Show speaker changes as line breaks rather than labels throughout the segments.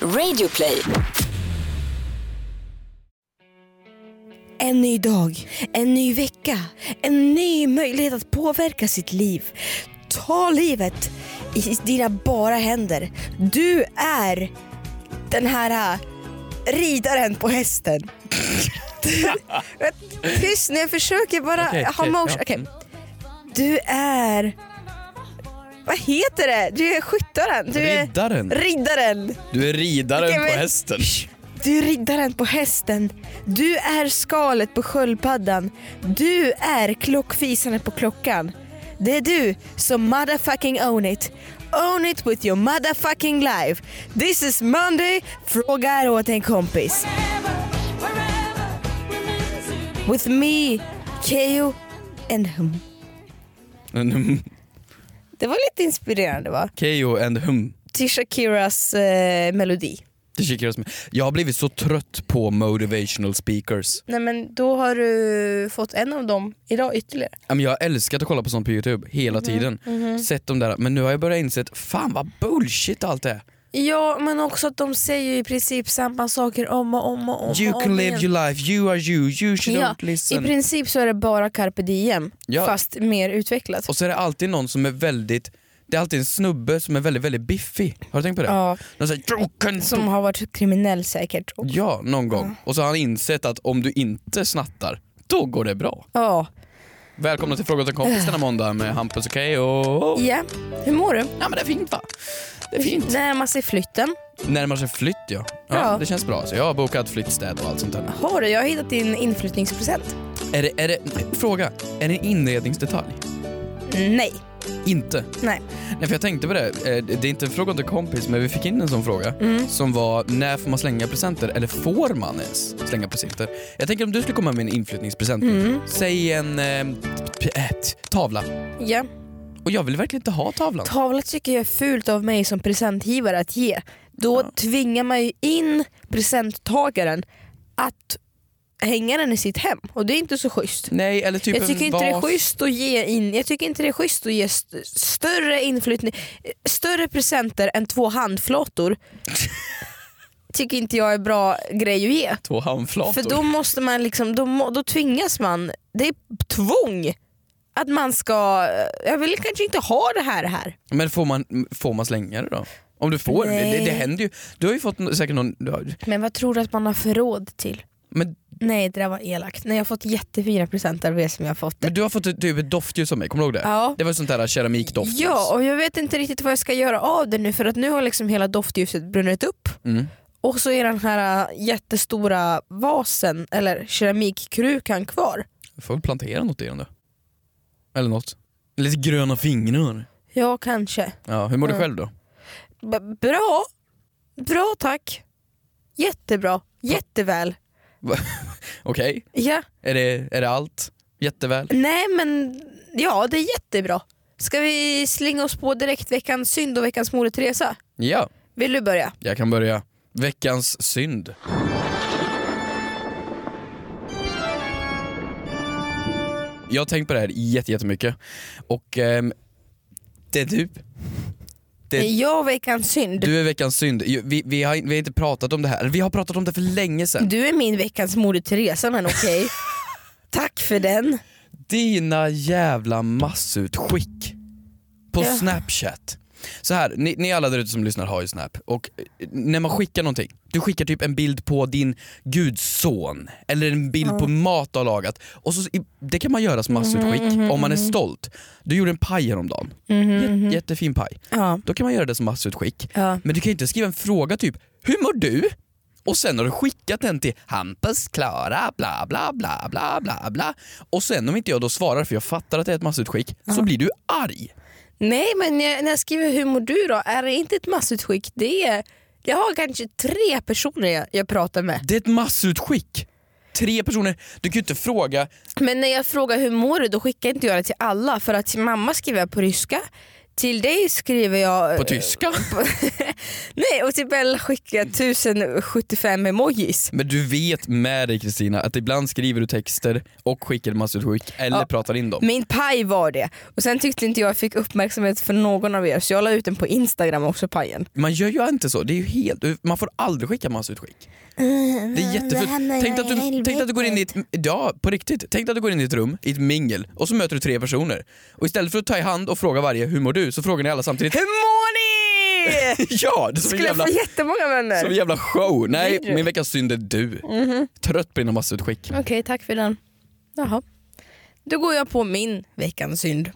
Radioplay.
En ny dag, en ny vecka, en ny möjlighet att påverka sitt liv. Ta livet i dina bara händer. Du är den här äh, ridaren på hästen. Tyst nu, jag försöker bara
Okej,
ha
okej,
motion.
ja.
Okej. Du är... Vad heter det? Du är skyttaren. Du är
Riddaren.
riddaren.
Du är ridaren
Okej,
på
men-
hästen.
Du är riddaren på hästen. Du är skalet på sköldpaddan. Du är klockfisandet på klockan. Det är du som motherfucking own it. Own it with your motherfucking life. This is Monday, frågar åt en kompis. With me, Keyyo and hum. Det var lite inspirerande va?
mm, Keyyo and hum.
Till Shakiras eh, melodi.
Det kikar oss med. Jag har blivit så trött på motivational speakers.
Nej men då har du fått en av dem idag ytterligare.
Ja, men Jag har älskat att kolla på sånt på youtube hela
Mhm,
tiden. Sett de där, men nu har jag börjat inse att fan vad bullshit allt är.
Ja, men också att de säger ju i princip samma saker om och om och om.
You
och
can
om
live
igen.
your life, you are you, you should
ja,
not listen.
I princip så är det bara carpe diem,
Ja.
fast mer utvecklat.
Och så är det alltid någon som är väldigt, det är alltid en snubbe som är väldigt väldigt biffig. Har du tänkt på det?
Ja,
Någon säger you can
som har varit kriminell säkert. Och-
Ja, någon gång. Och så har han insett att om du inte snattar, då går det bra.
Ja.
Välkomna till Fråga åt en kompis denna måndag med Hampus och Keyyo.
ja, hur mår du?
Ja men det är fint va? Det är fint.
Närmar sig flytten.
Närmar sig flytt ja. ja.
Ja.
Det känns bra. Så jag har bokat flyttstäd och allt sånt där.
Har du? Jag har hittat din inflyttningspresent.
Är det, är det, fråga, är det en inredningsdetalj?
Nej.
Inte.
Nej.
Nej för jag tänkte på det, Eh, det är inte en fråga åt en kompis men vi fick in en sån fråga
Mm.
som var när får man slänga presenter eller får man ens slänga presenter? Jag tänker om du skulle komma med en inflyttningspresent,
Mm.
säg en eh, p- ett, tavla
Ja.
och jag vill verkligen inte ha tavlan.
Tavla tycker jag är fult av mig som presentgivare att ge. Då tvingar man ju in presenttagaren att hänga den i sitt hem och det är inte så schysst.
Nej eller typ
jag tycker
en
inte det är
vas.
schysst att ge in, jag tycker inte det är schysst att ge st- större inflyttning, större presenter än två handflator. tycker inte jag är bra grej att ge.
Två handflator.
För då måste man liksom, då, må- då tvingas man, det är tvång att man ska, jag vill kanske inte ha det här här.
Men får man, får man slänga det då? Om du får, det, det,
Nej.
det händer ju. Du har ju fått n- säkert någon... du har-
Men vad tror du att man har förråd till?
Men,
Nej det där var elakt, nej jag har fått jättefina presenter av er som jag har fått.
men du har fått ett- typ ett doftljus av mig, kommer du ihåg det?
Ja.
Det var sånt där keramikdoft. alltså.
Ja, och jag vet inte riktigt vad jag ska göra av det nu för att nu har liksom hela doftljuset brunnit upp.
Mm.
Och så är den här äh, jättestora vasen, eller keramikkrukan kvar.
Du får väl plantera något i den då. Eller något. Lite gröna fingrar.
Ja, kanske.
Ja, hur mår du
Mm.
själv då?
B- bra! Bra tack. Jättebra. Jätteväl.
Okej,
Ja.
är, det, är det allt? Jätteväl?
Nej men, ja det är jättebra. Ska vi slinga oss på direkt veckans synd och veckans Moder Teresa?
Ja,
Vill du börja?
jag kan börja. Veckans synd. Jag har tänkt på det här jätte- jättemycket och ehm, det är typ Det-
Nej, Jag veckans synd. Du...
Du är veckans synd. Ju- Vi, vi, har, vi har inte pratat om det här. Vi har pratat om det för länge sedan.
är min veckans Moder Teresa men okej. Tack för den.
Dina jävla massutskick på
Ja.
snapchat. Så här, ni, ni alla där ute som lyssnar har ju snap och eh, när man skickar någonting, du skickar typ en bild på din gudson eller en bild på mat du har lagat. Och så, i- det kan man göra
Mm-hmm,
som massutskick om man är stolt. Du gjorde en paj häromdagen, Jät, jättefin paj.
Mm-hmm, Ja.
Då kan man göra det som massutskick.
Ja.
Men du kan ju inte skriva en fråga typ “Hur mår du?” och sen har du skickat den till Hampus, Klara, bla bla bla bla bla bla. Och sen om inte jag då svarar för jag fattar att det är ett massutskick så blir du arg.
Nej men när jag- när jag skriver hur mår du då? Är det inte ett massutskick? Det är, jag har kanske tre personer jag, jag pratar med.
Det är ett massutskick. Tre personer, du kan ju inte fråga
Men när jag frågar hur mår du då skickar inte jag det till alla för att till mamma skriver jag på ryska. Till dig skriver jag...
På tyska?
Nej, och till Bella skickar jag 1075 emojis.
Men du vet med dig Kristina att ibland skriver du texter och skickar massutskick eller
Ja.
pratar in dem.
Min paj var det. Och sen tyckte inte jag fick uppmärksamhet för någon av er så jag la ut den på Instagram också, pajen.
Man gör ju inte så, det är ju helt, man får aldrig skicka massutskick. Mm, Det är jättefult. Tänk att, du, tänk att du går in i ett, ja på riktigt, tänk att du går in i ett rum, i ett mingel och så möter du tre personer. Och istället för att ta i hand och fråga varje hur mår du så frågar ni alla samtidigt
Hur mår ni?
Ja! Det är som en
Skulle
jävla,
få jättemånga
som en
vänner.
jävla show. Nej,
Blir du?
min veckans synd är du. Trött på dina massutskick.
Okej, tack för den. Jaha. Då går jag på min veckans synd.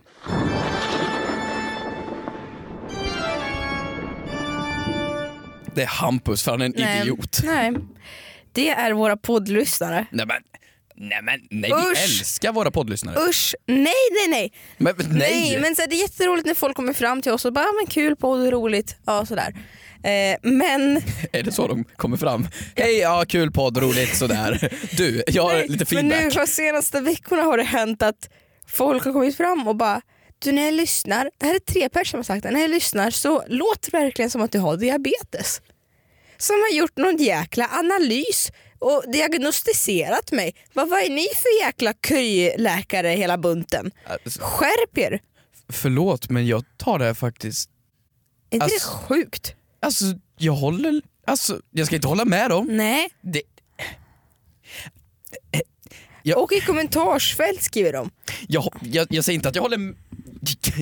Det är Hampus, för han är en
Nej.
idiot.
Nej. Det är våra poddlyssnare.
Nej men, nej men, nej
Usch.
vi älskar våra poddlyssnare.
Usch, nej nej nej.
Men, men, nej!
men så här, det är jätteroligt när folk kommer fram till oss och bara ah, men kul podd, roligt, ja sådär. Eh, men
Är det så de kommer fram? Hej, ja kul podd, roligt sådär. Du, jag har lite
men
feedback.
nu de senaste veckorna har det hänt att folk har kommit fram och bara du när jag lyssnar, det här är tre personer som har sagt det, när jag lyssnar så låter det verkligen som att du har diabetes. Som har gjort någon jäkla analys och diagnostiserat mig. Vad, vad är ni för jäkla köjläkare hela bunten?
Alltså,
Skärp er!
Förlåt men jag tar det här faktiskt,
Är inte
Alltså-
det sjukt?
alltså jag håller, alltså jag ska inte hålla med dem.
Nej.
Det,
Och i kommentarsfält skriver de.
jag, jag, jag säger inte att jag håller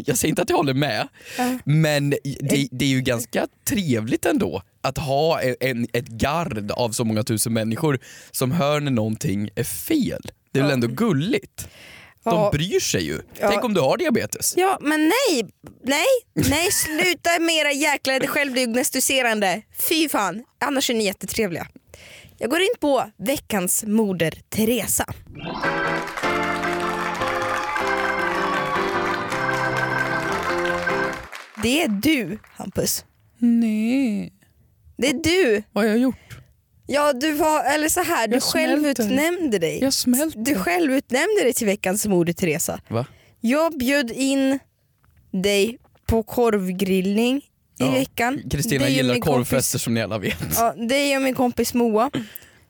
jag säger inte att jag håller med,
Ja.
men det, det är ju ganska trevligt ändå att ha en- en, ett gard av så många tusen människor som hör när någonting är fel. Det är väl
Ja.
ändå gulligt? De
Ja.
bryr sig ju.
Ja.
Tänk om du har diabetes?
Ja men nej, nej, nej sluta med era jäkla självdiagnostiserande. Fy fan, annars är ni jättetrevliga. Jag går in på veckans moder Teresa. Det är du Hampus.
Nej,
Det är du.
vad har jag gjort?
Ja du var, eller så här, du
Jag smälter.
självutnämnde dig.
Jag smälter.
Du självutnämnde dig till veckans moder Teresa.
Va?
Jag bjöd in dig på korvgrillning i
Ja,
veckan.
Kristina
Dig och
gillar
min
korvfester som ni alla vet.
Kompis, ja, dig och min kompis Moa.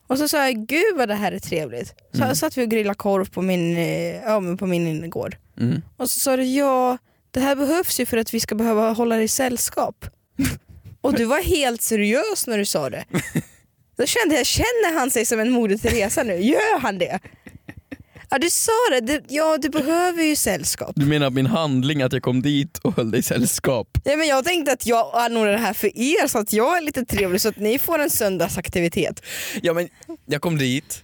Och så sa jag, gud vad det här är trevligt. Så
Mm.
satt vi och grillade korv på min, eh, ja, men på min innergård.
Mm.
Och så sa du, ja det här behövs ju för att vi ska behöva hålla dig i sällskap. och du var helt seriös när du sa det. Då kände jag, känner han sig som en Moder Teresa nu? Gör han det? Ja du sa det, det ja du behöver ju sällskap.
Du menar min handling att jag kom dit och höll dig sällskap?
Ja, men jag tänkte att jag anordnar det här för er så att jag är lite trevlig så att ni får en söndagsaktivitet.
Ja men jag kom dit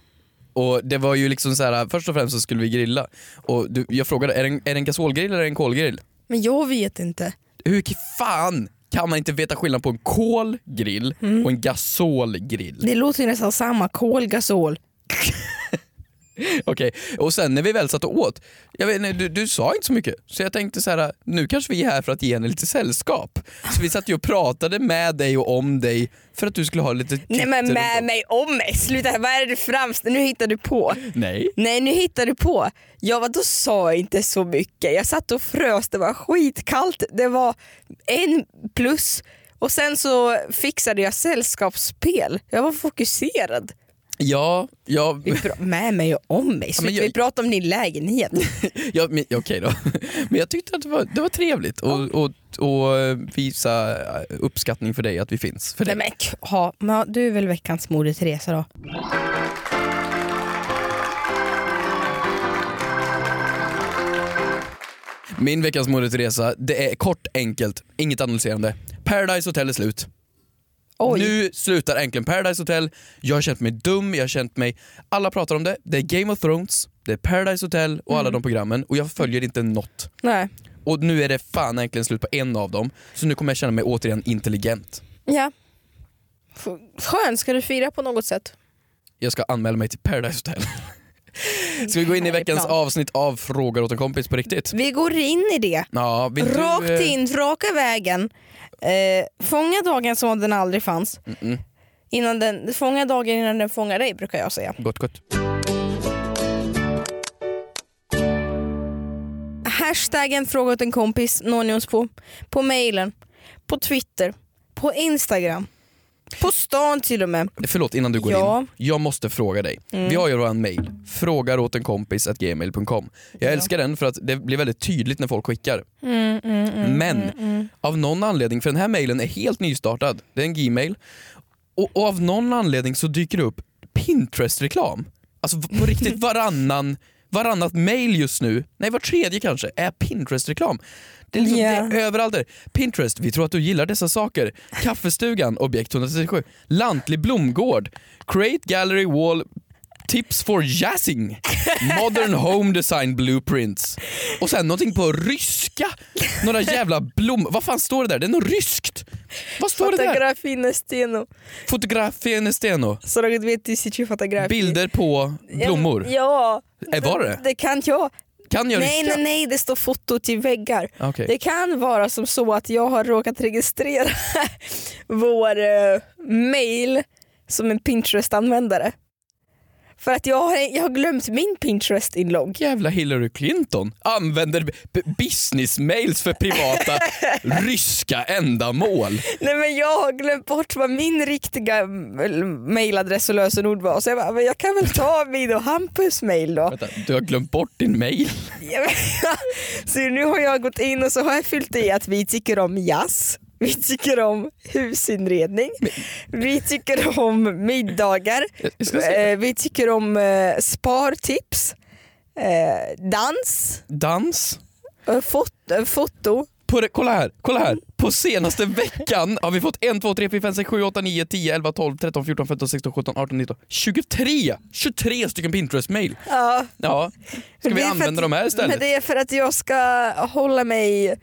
och det var ju liksom så här först och främst så skulle vi grilla och du, jag frågade är det, en, är det en gasolgrill eller en kolgrill?
Men jag vet inte.
Hur k- fan kan man inte veta skillnad på en kolgrill och en gasolgrill?
Det låter ju nästan samma, kol, gasol.
Okej, och sen när vi väl satt och åt, jag vet, nej, du, du sa inte så mycket så jag tänkte så här nu kanske vi är här för att ge henne lite sällskap. Så vi satt ju och pratade med dig och om dig för att du skulle ha lite
Nej men
titter
med
runt
mig om mig, sluta, vad är det du framst... Nu hittar du på.
om- Nej.
Nej nu hittar du på. Jag var, då sa jag inte så mycket. Jag satt och frös, det var skitkallt, det var en plus och sen så fixade jag sällskapsspel. Jag var fokuserad.
Ja, ja,
Vi pra- med mig och om mig, Sluta,
men jag-
vi pratade om din lägenhet.
Ja, men, ja, okej då. Men jag tyckte att det var, det var trevligt att och, och eh, visa eh, uppskattning för dig, att vi finns för dig.
Nej, men, k- ha, men, ja, du är väl veckans Moder Teresa då?
Min veckans Moder Teresa, det är kort, enkelt, inget analyserande. Paradise Hotel är slut.
Oj.
Nu slutar äntligen Paradise Hotel. Jag har känt mig dum, jag har känt mig... Alla pratar om det. Det är Game of Thrones, det är Paradise Hotel och
Mm.
alla de programmen och jag följer inte något.
Nej.
Och nu är det fan äntligen slut på en av dem, så nu kommer jag känna mig återigen intelligent.
Ja. F- Skönt, ska du fira på något sätt?
jag ska anmäla mig till Paradise Hotel. Ska vi gå in i veckans
Härlig plan.
avsnitt av frågor åt en kompis på riktigt?
Vi går in i det.
Ja, vill
Rakt
du, eh,
in, raka vägen. Eh, fånga dagen som om den aldrig fanns.
Mm-mm.
Innan den, fånga dagen innan den fångar dig brukar jag säga.
Gott gott.
hashtaggen fråga åt en kompis når ni oss på. På mailen, på Twitter, på Instagram, på stan till och med.
Förlåt innan du går
Ja. Mm.
in, jag måste fråga dig. Vi har ju vår mail, frågar åt en kompis att gmail.com. Jag älskar den för att det blir väldigt tydligt när folk skickar.
Mm,
Men av någon anledning, för den här mailen är helt nystartad, det är en gmail. Och, och av någon anledning så dyker det upp Pinterest-reklam. Alltså v- på riktigt varannan, varannat mail just nu, nej var tredje kanske, är Pinterest-reklam. Det är, liksom,
Ja.
det är överallt där. Pinterest, vi tror att du gillar dessa saker. Kaffestugan, objekt 137. Lantlig blomgård. Create gallery wall. Tips for jazzing. Modern home design blueprints. Och sen någonting på ryska. Några jävla blommor. Vad fan står det där? Det är något ryskt. Vad står det där?
Фотографии на стену.
Fotografie Nesteno.
42 тысячи фотографий.
Bilder på blommor.
Ja.
Äh, var det?
Det kan jag.
Kan jag
Nej, nej,
ryska? Ah,
nej, det står foto till väggar.
Okej.
Det kan vara som så att jag har råkat registrera vår eh, mail som en Pinterest-användare. För att jag har, jag har glömt min Pinterest-inlogg.
Jävla Hillary Clinton använder b- business-mails för privata ryska ändamål.
Nej men jag har glömt bort vad min riktiga mm, mailadress och lösenord var. Så jag bara, men jag kan väl ta min och Hampus mail då.
Vänta, du har glömt bort din mail.
Ja, men- så nu har jag gått in och så har jag fyllt i att vi tycker om jazz, vi tycker om husinredning, vi tycker om middagar,
Jag ska se.
eh, vi tycker om eh, spartips, eh, dans,
Dans.
eh, fot- eh, foto.
På det, kolla här, kolla här. På senaste veckan har vi fått 1, 2, 3, 4, 5, 6, 7, 8, 9, 10, 11, 12, 13, 14, 15, 16, 17, 18, 19, 23! 23 stycken Pinterest-mail.
Ja,
Ja. Ska
det
vi
är för
använda
att,
de här istället?
Men det är för att jag ska hålla mig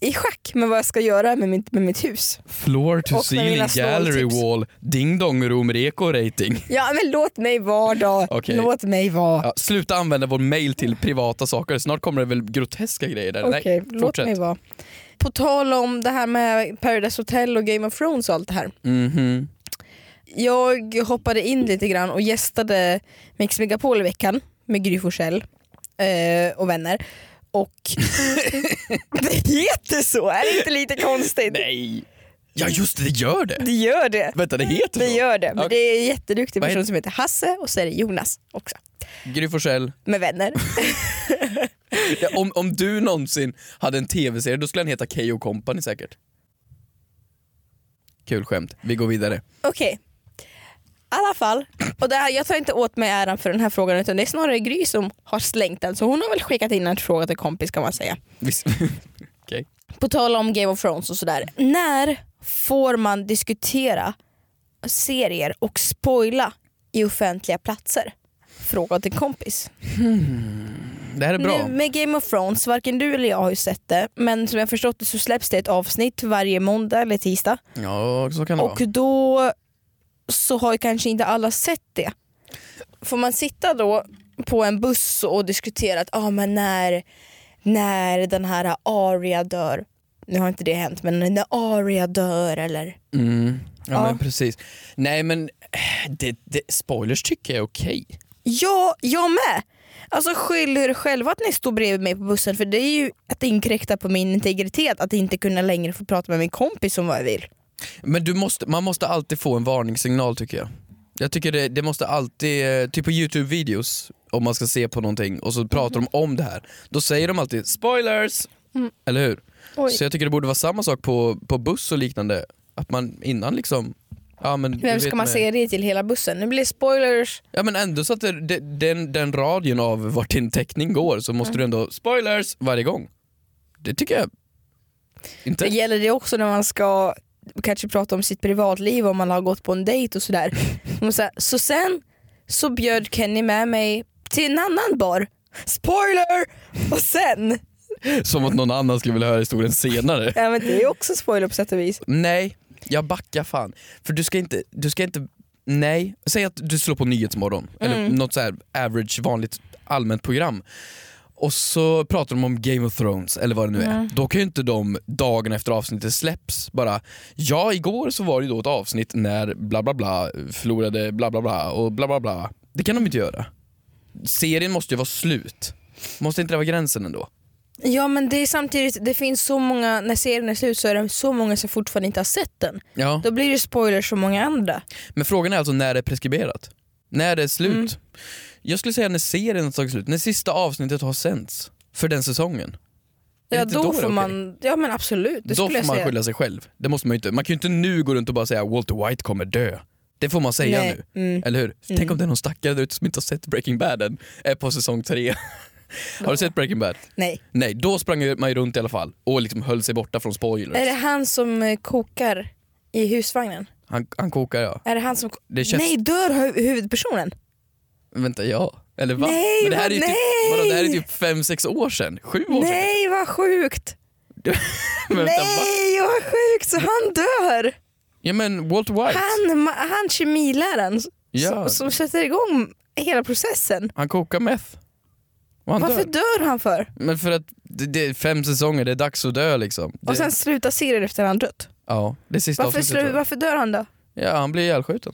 i schack med vad jag ska göra med mitt, med mitt hus.
Floor to
Och med mina
ceiling gallery
snåltips.
wall, ding dong room reko rating.
Ja men låt mig vara då,
Okej.
låt mig vara.
Ja, sluta använda vår mail till privata saker, snart kommer det väl groteska grejer där.
Okej,
Nej,
låt mig vara. På tal om det här med Paradise Hotel och Game of Thrones och allt det här.
Mhm.
Jag hoppade in lite grann och gästade Mix Megapol i veckan med Gry Forssell eh, och vänner. Och det heter så, är det inte lite konstigt?
Nej! Ja just det, det gör det!
Det gör det.
Vänta det heter
Det gör det. Men
Okej.
det är en jätteduktig
Vad
person
heter-
som heter Hasse och så är det Jonas också.
Gry Forssell,
Med vänner.
Ja, om, om du någonsin hade en tv-serie då skulle den heta K.O. Company säkert. Kul skämt, vi går vidare.
Okej. I alla fall. Och det här, jag tar inte åt mig äran för den här frågan utan det är snarare Gry som har slängt den. Så hon har väl skickat in en fråga till kompis kan man säga.
Visst. Okej.
På tal om Game of Thrones och sådär. När får man diskutera serier och spoila i offentliga platser? Fråga till kompis.
Det här är bra.
Nu, med Game of Thrones, varken du eller jag har ju sett det men som jag förstått det så släpps det ett avsnitt varje måndag eller tisdag.
Ja, så kan det vara.
Och då så har ju kanske inte alla sett det. Får man sitta då på en buss och diskutera att ah, men när, när den här Aria dör, nu har inte det hänt, men när Aria dör eller
Mm. Ja,
Ja.
men precis. Nej men, eh, det, det, spoilers tycker jag är okej.
Ja, jag med! Alltså skyll er själva att ni stod bredvid mig på bussen för det är ju att inkräkta på min integritet att inte kunna längre få prata med min kompis om vad jag vill.
Men du måste, man måste alltid få en varningssignal tycker jag. Jag tycker det, det måste alltid, eh, typ på Youtube-videos, om man ska se på någonting och så pratar de om det här, då säger de alltid spoilers!
Mm.
Eller hur?
Oj.
Så jag tycker det borde vara samma sak på, på buss och liknande, att man innan liksom Ja, men, du
Vem
vet
ska man
med-
säga det till hela bussen? Nu blir det spoilers.
Ja men ändå så att det, det, den, den radien av vart din teckning går så måste du ändå spoilers varje gång. Det tycker jag inte.
Det gäller det också när man ska kanske prata om sitt privatliv om man har gått på en dejt och sådär. Och Så, här, så sen så bjöd Kenny med mig till en annan bar. Spoiler! Och sen,
Som att någon annan skulle vilja höra historien senare.
ja men det är också spoiler på sätt och vis.
Nej, jag backar fan. För du ska inte, du ska inte, nej. Säg att du slår på Nyhetsmorgon, eller något så här average vanligt allmänt program. Och så pratar de om Game of Thrones eller vad det nu är. Då kan ju inte de dagen efter avsnittet släpps bara Ja igår så var det ju då ett avsnitt när bla bla bla förlorade bla bla bla och bla bla bla. Det kan de inte göra. Serien måste ju vara slut. Måste inte det vara gränsen ändå?
Ja men det är samtidigt, det finns så många, när serien är slut så är det så många som fortfarande inte har sett den.
Ja.
Då blir det spoilers för många andra.
Men frågan är alltså när det är preskriberat? När det är slut?
Mm.
Jag skulle säga när serien har tagit slut, när sista avsnittet har sänts för den säsongen. Är
Ja
inte
då,
då det
får
okej?
man, ja men absolut det
Då
skulle
får
jag
man
säga.
skylla sig själv. Det måste man ju inte. Man kan ju inte nu gå runt och bara säga Walter White kommer dö. Det får man säga
Nej,
nu.
Mm.
Eller hur? Tänk om det är någon stackare där ute som inte har sett Breaking Bad än, är på säsong tre. har du sett Breaking Bad?
Nej.
Nej, då sprang ju- man ju runt i alla fall och liksom höll sig borta från spoilers.
Är det han som eh, kokar i husvagnen?
Han, han kokar ja.
Är det han som...
Det känns...
Nej, dör hu- huvudpersonen?
Vänta, ja? Eller va?
Nej,
Men det här
vad-
är ju typ,
nej!
vadå, det här är typ fem, sex år sedan? Sju år sedan?
Nej vad sjukt!
Vänta, va?
Nej vad sjukt! Så han dör!
Ja men Walter White, han,
Han, ma- han kemiläraren s-
Ja.
som, som sätter igång hela processen.
kokar meth. Och han
Varför
dör.
dör han för?
Men för att det, det är fem säsonger, det är dags att dö liksom. Det,
Och sen slutar serien efter han dött.
ja, det är sista
Varför,
avsnittet
slu-
tror jag.
varför dör han då?
Ja, han blir ihjälskjuten.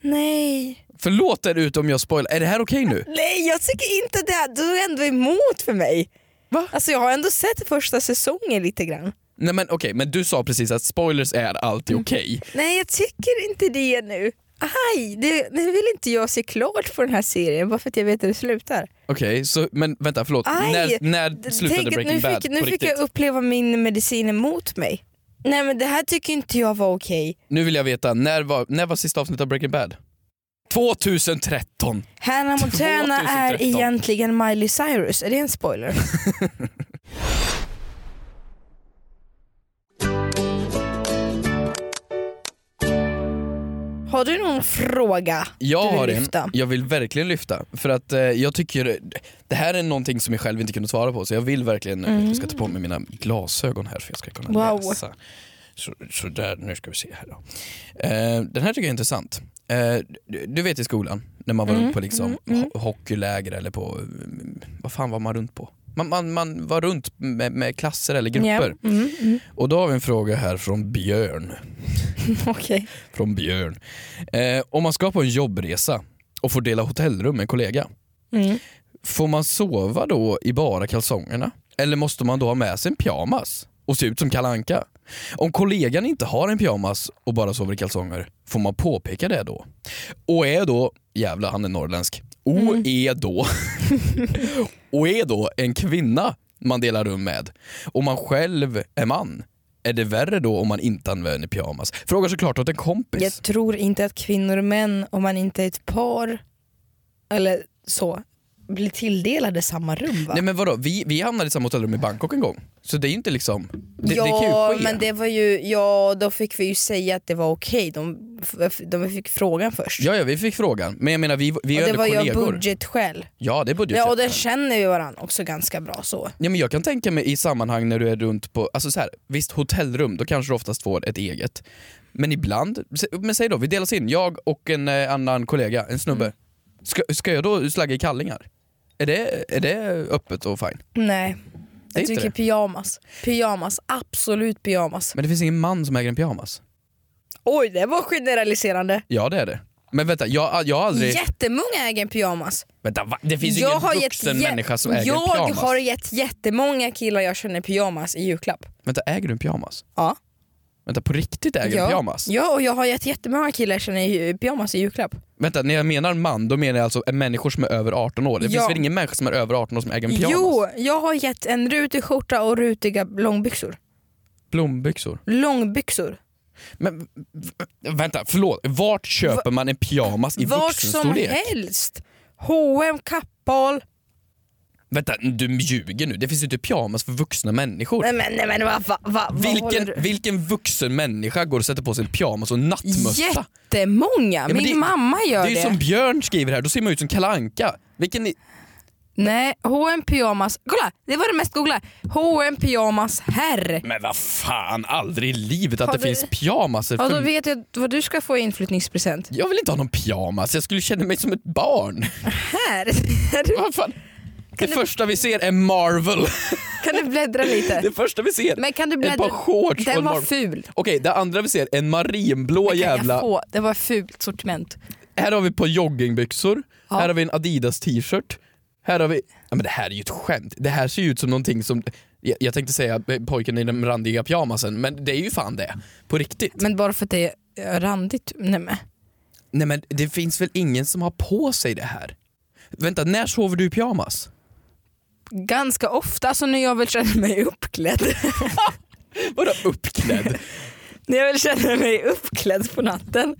Nej.
Förlåt er ut om jag spoilar, är det här okej nu?
Nej jag tycker inte det. här- Du är ändå emot för mig.
Va?
Alltså jag har ändå sett första säsongen lite grann.
Nej men okej, men du sa precis att spoilers är alltid
Mm.
okej.
Nej jag tycker inte det nu. Aj, det, nu vill inte jag se klart på den här serien bara för att jag vet hur det slutar.
Okej, så, men vänta förlåt,
Aj!
när, när slutade
Tänk att
Breaking
nu
Bad
fick,
på
Nu fick
riktigt?
jag uppleva min medicin emot mig. Nej men det här tycker inte jag var okej.
Nu vill jag veta, när var, när var sista avsnittet av Breaking Bad? 2013!
Hannah Montana är
2013.
egentligen Miley Cyrus, är det en spoiler? Har du någon fråga
Jag
du vill
har en,
lyfta?
jag vill verkligen lyfta. För att eh, jag tycker, det här är någonting som jag själv inte kunde svara på så jag vill verkligen, jag ska ta på mig mina glasögon här för jag ska kunna
Mm. Wow.
läsa. Så, så där, nu ska vi se här då. Eh, den här tycker jag är intressant. Eh, du, du vet i skolan, när man var
Mm,
runt på liksom ho- hockeyläger eller på, mm, vad fan var man runt på? Man, man, man var runt med, med klasser eller grupper.
Ja, mm, mm.
Och då har vi en fråga här från Björn.
Okej.
Från Björn. Eh, om man ska på en jobbresa och får dela hotellrum med en kollega,
Mm.
får man sova då i bara kalsongerna? Eller måste man då ha med sig en pyjamas och se ut som Kalle Anka? Om kollegan inte har en pyjamas och bara sover i kalsonger, får man påpeka det då? Och är då, jävla han är norrländsk, och är då, och är då en kvinna man delar rum med och man själv är man, är det värre då om man inte använder pyjamas? Frågar såklart åt en kompis.
Jag tror inte att kvinnor och män, om man inte är ett par eller så, blir tilldelade samma rum va?
Nej men vadå, vi, vi hamnade i samma hotellrum i Bangkok en gång. Så det är ju inte liksom, det,
ja,
det kan ju ske.
men det var ju, ja, då fick vi ju säga att det var okej. De, f- de fick frågan först.
Ja, ja, vi fick frågan. Men jag menar, vi, vi är
och det
ändå
var ju av
kollegor.
budgetskäl.
Ja, det är budget.
Ja, och den känner vi varandra också ganska bra så.
Ja, men jag kan tänka mig i sammanhang när du är runt på, alltså så här, visst hotellrum, då kanske du oftast får ett eget. Men ibland, s- men säg då, vi delas in, jag och en eh, annan kollega, en snubbe.
Mm.
Ska, ska jag då slagga i kallingar? Är det, är det öppet och fine?
Nej,
Det är
jag
inte
tycker
det.
pyjamas. Pyjamas, absolut pyjamas.
Men det finns ingen man som äger en pyjamas.
Oj, det var generaliserande.
Ja, det är det. Men vänta, jag, jag har aldrig...
Jättemånga äger en pyjamas.
Vänta, va? Det finns ju
Jag
ingen
har gett
vuxen
jä-
människa som äger en
Jag
pyjamas.
har gett jättemånga killar jag känner pyjamas i julklapp.
Vänta, äger du en pyjamas?
Ja.
Vänta, på riktigt äger du
ja.
en pyjamas?
Ja, och jag har gett jättemånga killar jag känner i- pyjamas i julklapp.
Vänta, när jag menar man, då menar jag alltså människor som är över 18 år. Det
Ja.
finns väl ingen människa som är över 18 år som äger en pyjamas?
Jo, jag har gett en rutig skjorta och rutiga långbyxor.
Blombyxor.
Långbyxor.
Men v- v- vänta, förlåt. Vart köper man en pyjamas i
Vart som
vuxenstorlek?
helst. H&M, Kappahl.
Vänta, du ljuger nu. Det finns ju inte pyjamas för vuxna människor.
Nej men, nej, men vad va, va, vad håller
vilken,
du-
vilken vuxen människa går och sätter på sig en pyjamas och en nattmössa?
Jättemånga.
men
Min
det-
mamma gör
det
det.
är ju som Björn skriver här, då ser man ut som Kalle Anka. Vilken i-
Nej, H&M pyjamas. Kolla, det var det mest googla. H&M pyjamas herr.
Men vad fan, aldrig i livet att
Har
det
du-
finns pyjamaser
Ja,
för
då vet jag vad du ska få i inflyttningspresent.
Jag vill inte ha någon pyjamas, jag skulle känna mig som ett barn.
Här!
Vad fan? Det
du-
första vi ser är Marvel.
kan du bläddra lite?
Det första vi ser
Men kan du
är ett par
bläddra?
shorts och
Den
en
var
Marvel.
ful.
Okej, det andra vi ser är en marinblå
Kan jag
jävla...
få? Det var fult sortiment.
Här har vi ett par joggingbyxor,
Ja.
här har vi en Adidas t-shirt. Här har vi... Ja, men det här är ju ett skämt. Det här ser ju ut som någonting som... Jag, jag tänkte säga eh, pojken i den randiga pyjamasen, men det är ju fan det. På riktigt.
Men bara för att det är randigt, nej men.
Nej men det finns väl ingen som har på sig det här? Vänta, när sover du i pyjamas?
Ganska ofta, alltså när jag väl känner mig uppklädd.
Vadå uppklädd?
när jag väl känner mig uppklädd på natten.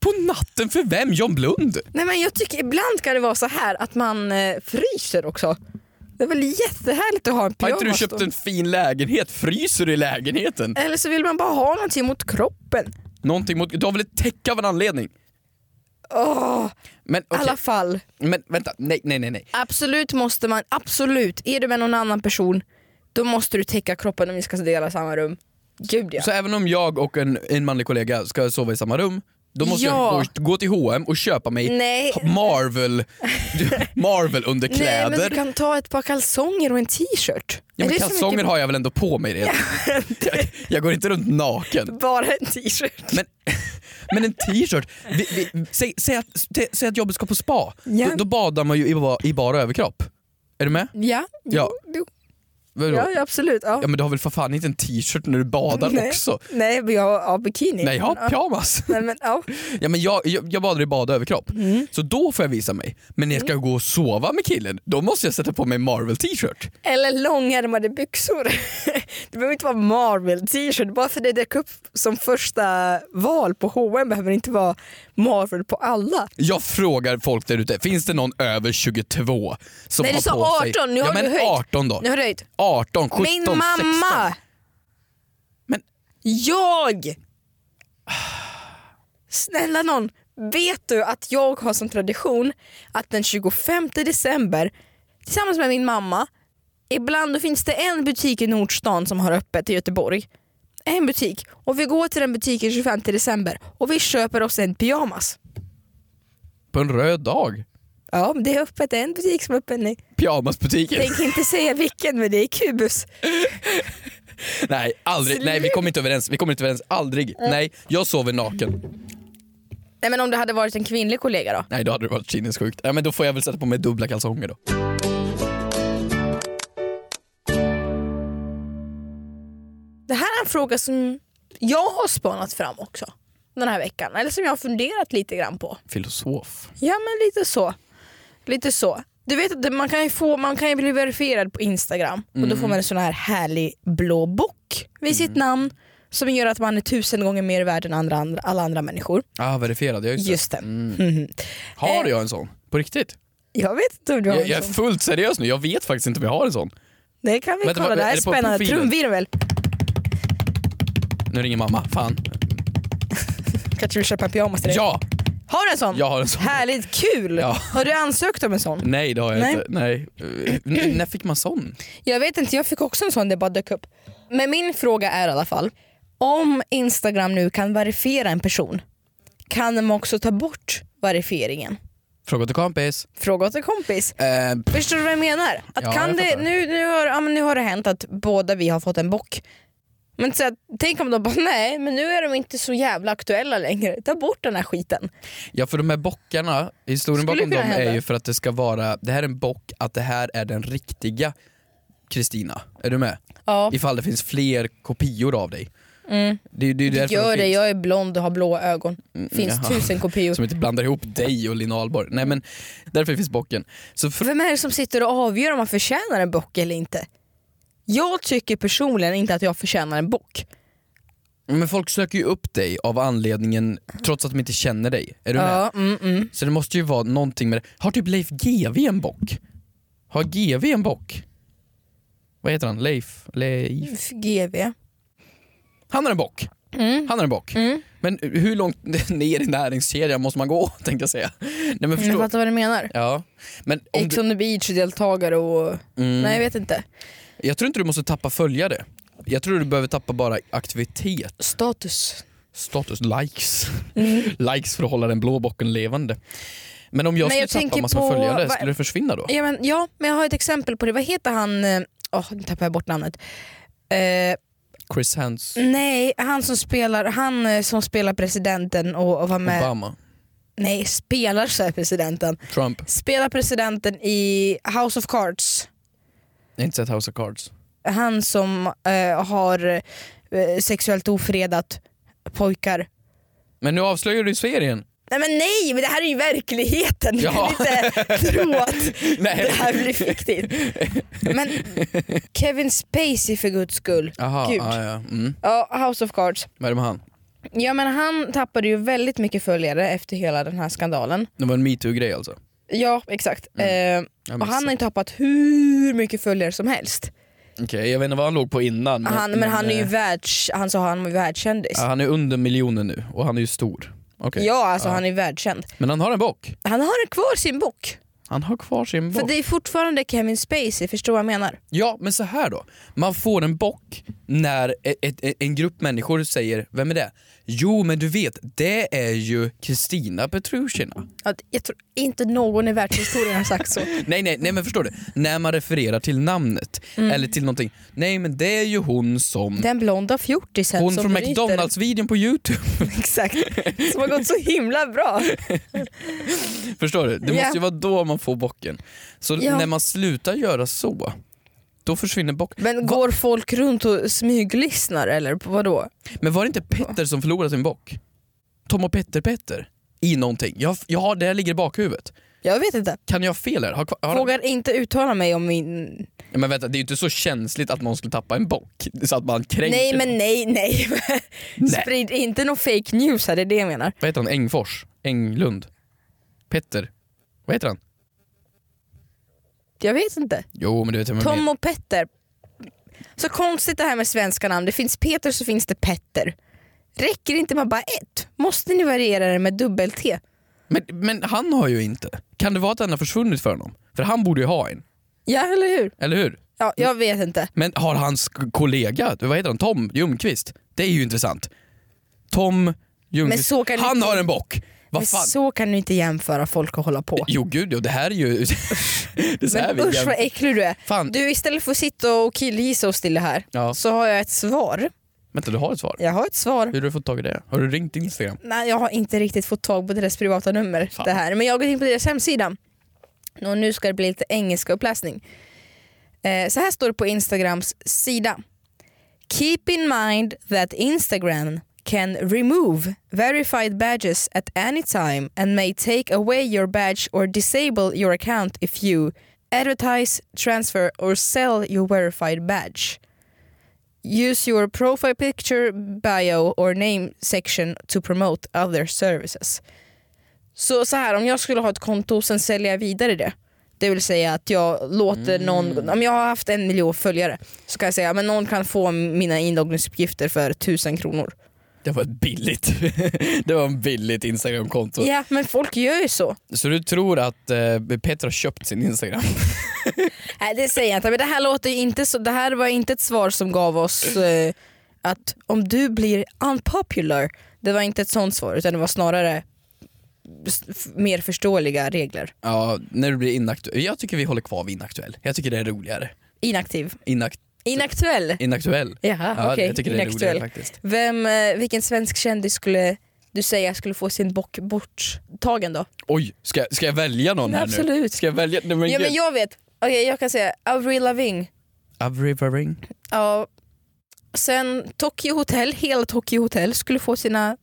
På natten för vem? John Blund?
Nej men jag tycker ibland kan det vara så här att man eh, fryser också. Det är väl jättehärligt att ha en
Har
pyjamas
inte du
då.
köpt en fin lägenhet? Fryser du i lägenheten?
Eller så vill man bara ha någonting mot kroppen.
Någonting mot... Du har väl ett täcke av en anledning?
Åh,
Men okej,
alla fall.
men vänta, nej nej nej. nej.
Absolut måste man, absolut. Är du med någon annan person, då måste du täcka kroppen om ni ska dela samma rum. Gud ja.
Så även om jag och en, en manlig kollega ska sova i samma rum, då måste
Ja.
jag gå, gå till H&M och köpa mig
Nej.
Marvel, Marvel
Nej men
underkläder.
du kan ta ett par kalsonger och en t-shirt.
Ja,
Är
men
det så
kalsonger
mycket-
har jag väl ändå på mig redan? jag, jag går inte runt naken.
Bara en t-shirt.
Men, men en t-shirt, vi, vi, säg, säg, att, tä- säg att jobbet ska på spa,
Ja.
då, då badar man ju i, ba- i bara överkropp. Är du med?
Ja,
Ja.
jo,
Vadå?
jo, ja, ja absolut. Ja.
Ja men du har väl för fan inte en t-shirt när du badar
Nej.
också?
Nej, men jag har ja, bikini.
Nej jag har
Men, ja.
pyjamas.
Nej, men, ja.
Ja, men jag, jag, jag badar i bara överkropp,
Mm.
så då får jag visa mig. Men när jag ska gå och sova med killen, då måste jag sätta på mig en Marvel t-shirt.
Eller långärmade byxor. Det behöver inte vara Marvel t-shirt. Bara för det dök upp som första val på H&M behöver det inte vara Marvel på alla.
Jag frågar folk där ute, finns det någon över 22 som
Nej, du
har
sa
på
18,
sig...
nu har
ja,
du
men
höjt.
18 då.
Nu har du höjt.
18, 17,
Min mamma!
16. Men-
Jag! Snälla någon, vet du att jag har som tradition att den 25 december tillsammans med min mamma, ibland då finns det en butik i Nordstan som har öppet i Göteborg. En butik. Och vi går till den butiken 25 december och vi köper oss en pyjamas.
På en röd dag.
Ja, men det är öppet. Det är en butik som är öppen. Nej,
Pyjamasbutiken.
Tänk inte säga vilken men det är Kubus.
Nej, aldrig. Nej, vi kommer inte överens. Vi kommer inte överens. Aldrig. Nej, jag sover naken.
Nej men om det hade varit en kvinnlig kollega då?
Nej, då hade det varit sinnessjukt. Ja, men då får jag väl sätta på mig dubbla kalsonger då.
Det här är en fråga som jag har spanat fram också den här veckan. Eller som jag har funderat lite grann på.
Filosof.
Ja men lite så. Lite så. Du vet att det- man kan ju, få, man kan ju bli verifierad på Instagram och då
Mm.
får man en sån här härlig blå bock vid sitt namn som gör att man är tusen gånger mer värd än andra, andra, alla andra människor.
Ah, verifierad. Jag just.
Just Eh. det.
det. Mm. Har jag en sån? På riktigt?
Jag vet inte om du har
Jag,
en
jag är
sån.
fullt seriös nu. Jag vet faktiskt inte om jag har en sån.
Det kan vi
Vänta,
kolla,
vad-
det här
är
är
det på
spännande.
profilen?
Trumvirvel.
Nu ringer mamma. Fan.
Kanske vill köpa en pyjamas till dig.
Ja!
Har du en sån?
Jag har en sån.
Härligt kul!
Ja.
Har du ansökt om en sån?
Nej, det har jag
Nej.
inte. Nej. Eh, n- när fick man sån?
Jag vet inte, jag fick också en sån, det bara dök upp. Men min fråga är i alla fall, om Instagram nu kan verifiera en person, kan de också ta bort verifieringen?
Fråga till kompis.
Fråga åt en kompis.
Eh,
Förstår du vad jag menar? Att
Ja,
kan
jag
det,
fattar.
nu, nu, har, ja, men nu har det hänt att båda vi har fått en bock. Men så att, tänk om de bara, nej men nu är de inte så jävla aktuella längre, ta bort den här skiten.
Ja för de här bockarna,
Skulle
historien bakom
kunna
dem
hända.
är ju för att det ska vara, det här är en bock, att det här är den riktiga Kristina. Är du med?
Ja,
Ifall det finns fler kopior av dig. Det, det är ju därför
gör
de
det,
finns. Mm,
jag är blond och har blå ögon. Finns
jaha.
tusen kopior.
Som inte blandar ihop dig och Lina Ahlborg. Nej men därför finns bocken. Så för,
Vem är det som sitter och avgör om man förtjänar en bock eller inte? Jag tycker personligen inte att jag förtjänar en bock.
men folk söker ju upp dig av anledningen, trots att de inte känner dig. Är du med?
Ja, mm, mm.
Så det måste ju vara någonting med det. Har typ Leif GW en bock? Har GW en bock? Vad heter han? Leif? Leif?
GV.
Han är en bock.
Mm.
Han är en bock. Men hur långt ner i näringskedjan måste man gå tänkte jag säga. Nej men
Jag
förstå.
fattar vad du menar.
Ja. Men om
Ex
du, Mm.
on the beach-deltagare och... Nej jag vet inte.
jag tror inte du måste tappa följare. Jag tror du behöver tappa bara aktivitet,
Status.
status, likes.
Mm.
likes för att hålla den blå bocken levande. Men om
Men
jag skulle
jag
tappa
tänker
massor
på-
med följare,
vad-
skulle det försvinna då?
Ja men, ja men jag har ett exempel på det. Vad heter han... eh, Åh, nu tappade jag bort namnet. Eh,
Chris Hans,
Mm. nej, han som spelar, han eh, som spelar presidenten och, och var med...
Obama.
Nej, spelar så här presidenten.
Trump.
Spelar presidenten i House of Cards.
Jag har inte sett House of Cards.
Han som eh, har eh, sexuellt ofredat pojkar.
Men nu avslöjar du ju serien.
Nej men nej, men det här är ju verkligheten. Du
Ja.
kan inte tro att
Nej.
det här blir fiktigt. Men Kevin Spacey för guds skull.
Jaha,
Gud.
ja, ja. Mm.
Ja, House of Cards.
Vad är det med han?
Ja men han tappade ju väldigt mycket följare efter hela den här skandalen.
Det var en metoo-grej alltså?
Ja exakt. Eh,
Mm. Jag
och han har
missade.
ju tappat hur mycket följare som helst.
Okej, jag vet inte vad han låg på innan.
han, men han är ju
eh,
världs, han sa han var ju världskändis.
ja, han är under miljonen nu och han är ju stor. Okej. Ah.
Ja alltså han är världskänd.
Men han har en bock.
Han har kvar sin bok.
Han har kvar sin bock.
För det är fortfarande Kevin Spacey, förstår vad jag menar?
Ja, men så här då. Man får en bock när ett, ett, e- en grupp människor säger “Vem är det?” Jo, men du vet, det är ju Kristina Petrushina.
Att jag tror inte någon i världshistorien har sagt så.
Nej, nej, nej, men förstår du? När man refererar till namnet
Mm.
eller till någonting. Nej, men det är ju hon som...
Den blonda fjortisen
Hon
som
från
bryter-
McDonalds-videon på YouTube.
Exakt, som har gått så himla bra.
Förstår du? Det
Ja.
måste ju vara då man får bocken. Så
Ja.
när man slutar göra så, då försvinner bocken.
Men går folk runt och smyglyssnar eller på vad då?
Men var det inte Petter som förlorade sin bock? Tom och Petter-Petter? I någonting. Jag, jag har, det här ligger i bakhuvudet.
Jag vet inte.
Kan jag ha fel här? Har, kvar- har,
Vågar inte uttala mig om min...
Ja, men vänta, det är ju inte så känsligt att någon skulle tappa en bock så att man kränker
Nej
någon.
men nej nej. Sprid inte någon fake news här, det är det jag menar.
Vad heter han? Engfors? Englund? Petter? Vad heter han?
Jag vet inte.
Jo men du vet vem jag menar.
Tom och Petter. Så konstigt det här med svenska namn. Det finns Peter så finns det Petter. Räcker det inte med bara ett? Måste ni variera det med dubbel-T?
men, men han har ju inte. Kan det vara att den har försvunnit för honom? För han borde ju ha en.
Ja eller hur?
Eller hur?
Ja, jag
Mm.
vet inte.
Men har hans k- kollega, vad heter han, Tom Ljungqvist? Det är ju intressant. Tom
Men
Ljungqvist,
så kan
han
inte-
har en bock!
Men
Vad fan?
så kan du inte jämföra folk och hålla på.
Jo gud ja, det här är ju... det är så här
Men
vi
usch vad
jämför.
äcklig du är.
Fan,
Du istället för att sitta och killgissa och stilla här
Ja.
så har jag ett svar.
vänta du har ett svar?
Jag har ett svar.
Hur har du fått tag i det? Har du ringt Instagram?
Nej, jag har inte riktigt fått tag på deras privata nummer.
Fan.
Det här. Men jag har gått in på deras hemsida. Och nu ska det bli lite engelska uppläsning. Eh, så här står det på Instagrams sida. Keep in mind that Instagram can remove verified badges at any time and may take away your badge or disable your account if you advertise, transfer or sell your verified badge. Use your profile picture, bio or name section to promote other services. Så, så här, om jag skulle ha ett konto och sen säljer jag vidare det. Det vill säga att jag låter någon, om jag har haft en miljon följare så kan jag säga att någon kan få mina inloggningsuppgifter för tusen kronor.
Det var ett billigt. det var en billigt Instagramkonto.
Ja men folk gör ju så.
Så du tror att eh, Peter har köpt sin Instagram?
Nej det säger jag inte, men det här låter ju inte så, det här var inte ett svar som gav oss eh, att om du blir unpopular, det var inte ett sånt svar utan det var snarare s- f- mer förståeliga regler.
ja, när du blir inaktuell. Jag tycker vi håller kvar vid inaktuell. Jag tycker det är roligare.
Inaktiv.
Inakt-
Inaktuell?
inaktuell.
Jaha
Ja,
Ah, okej,
jag tycker det är roligare
inaktuell.
faktiskt.
Vem, eh, vilken svensk kändis skulle du säga skulle få sin bock borttagen då?
Oj, ska, ska jag välja någon här nu?
Absolut.
Ska jag välja? Nej, men
Ja men jag vet, okej jag kan säga Avril Lavigne.
Avril Lavigne.
Ja. Sen Tokyo Hotel, hela Tokyo Hotel skulle få sina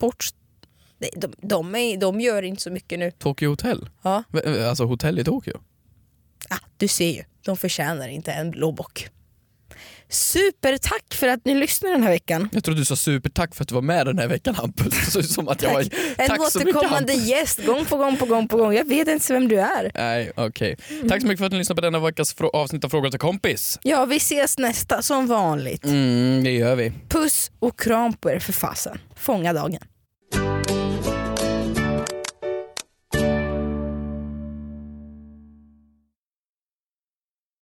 bort... Nej, de, de, är, de gör inte så mycket nu.
Tokyo Hotel?
Ja.
V- Alltså hotell i Tokyo?
Ah, du ser ju, de förtjänar inte en blå bock. Supertack för att ni lyssnade den här veckan.
Jag trodde du sa supertack för att du var med den här veckan Hampus. Det såg ut som att jag var...
En
Tack så mycket,
återkommande gäst gång på gång på gång på gång. Jag vet inte vem du är.
Nej, okej. Tack så mycket för att ni lyssnade på denna veckas frå- avsnitt av Frågor till kompis.
Ja, vi ses nästa som vanligt.
Mm, det gör vi.
Puss och kram på er för fasen. Fånga dagen.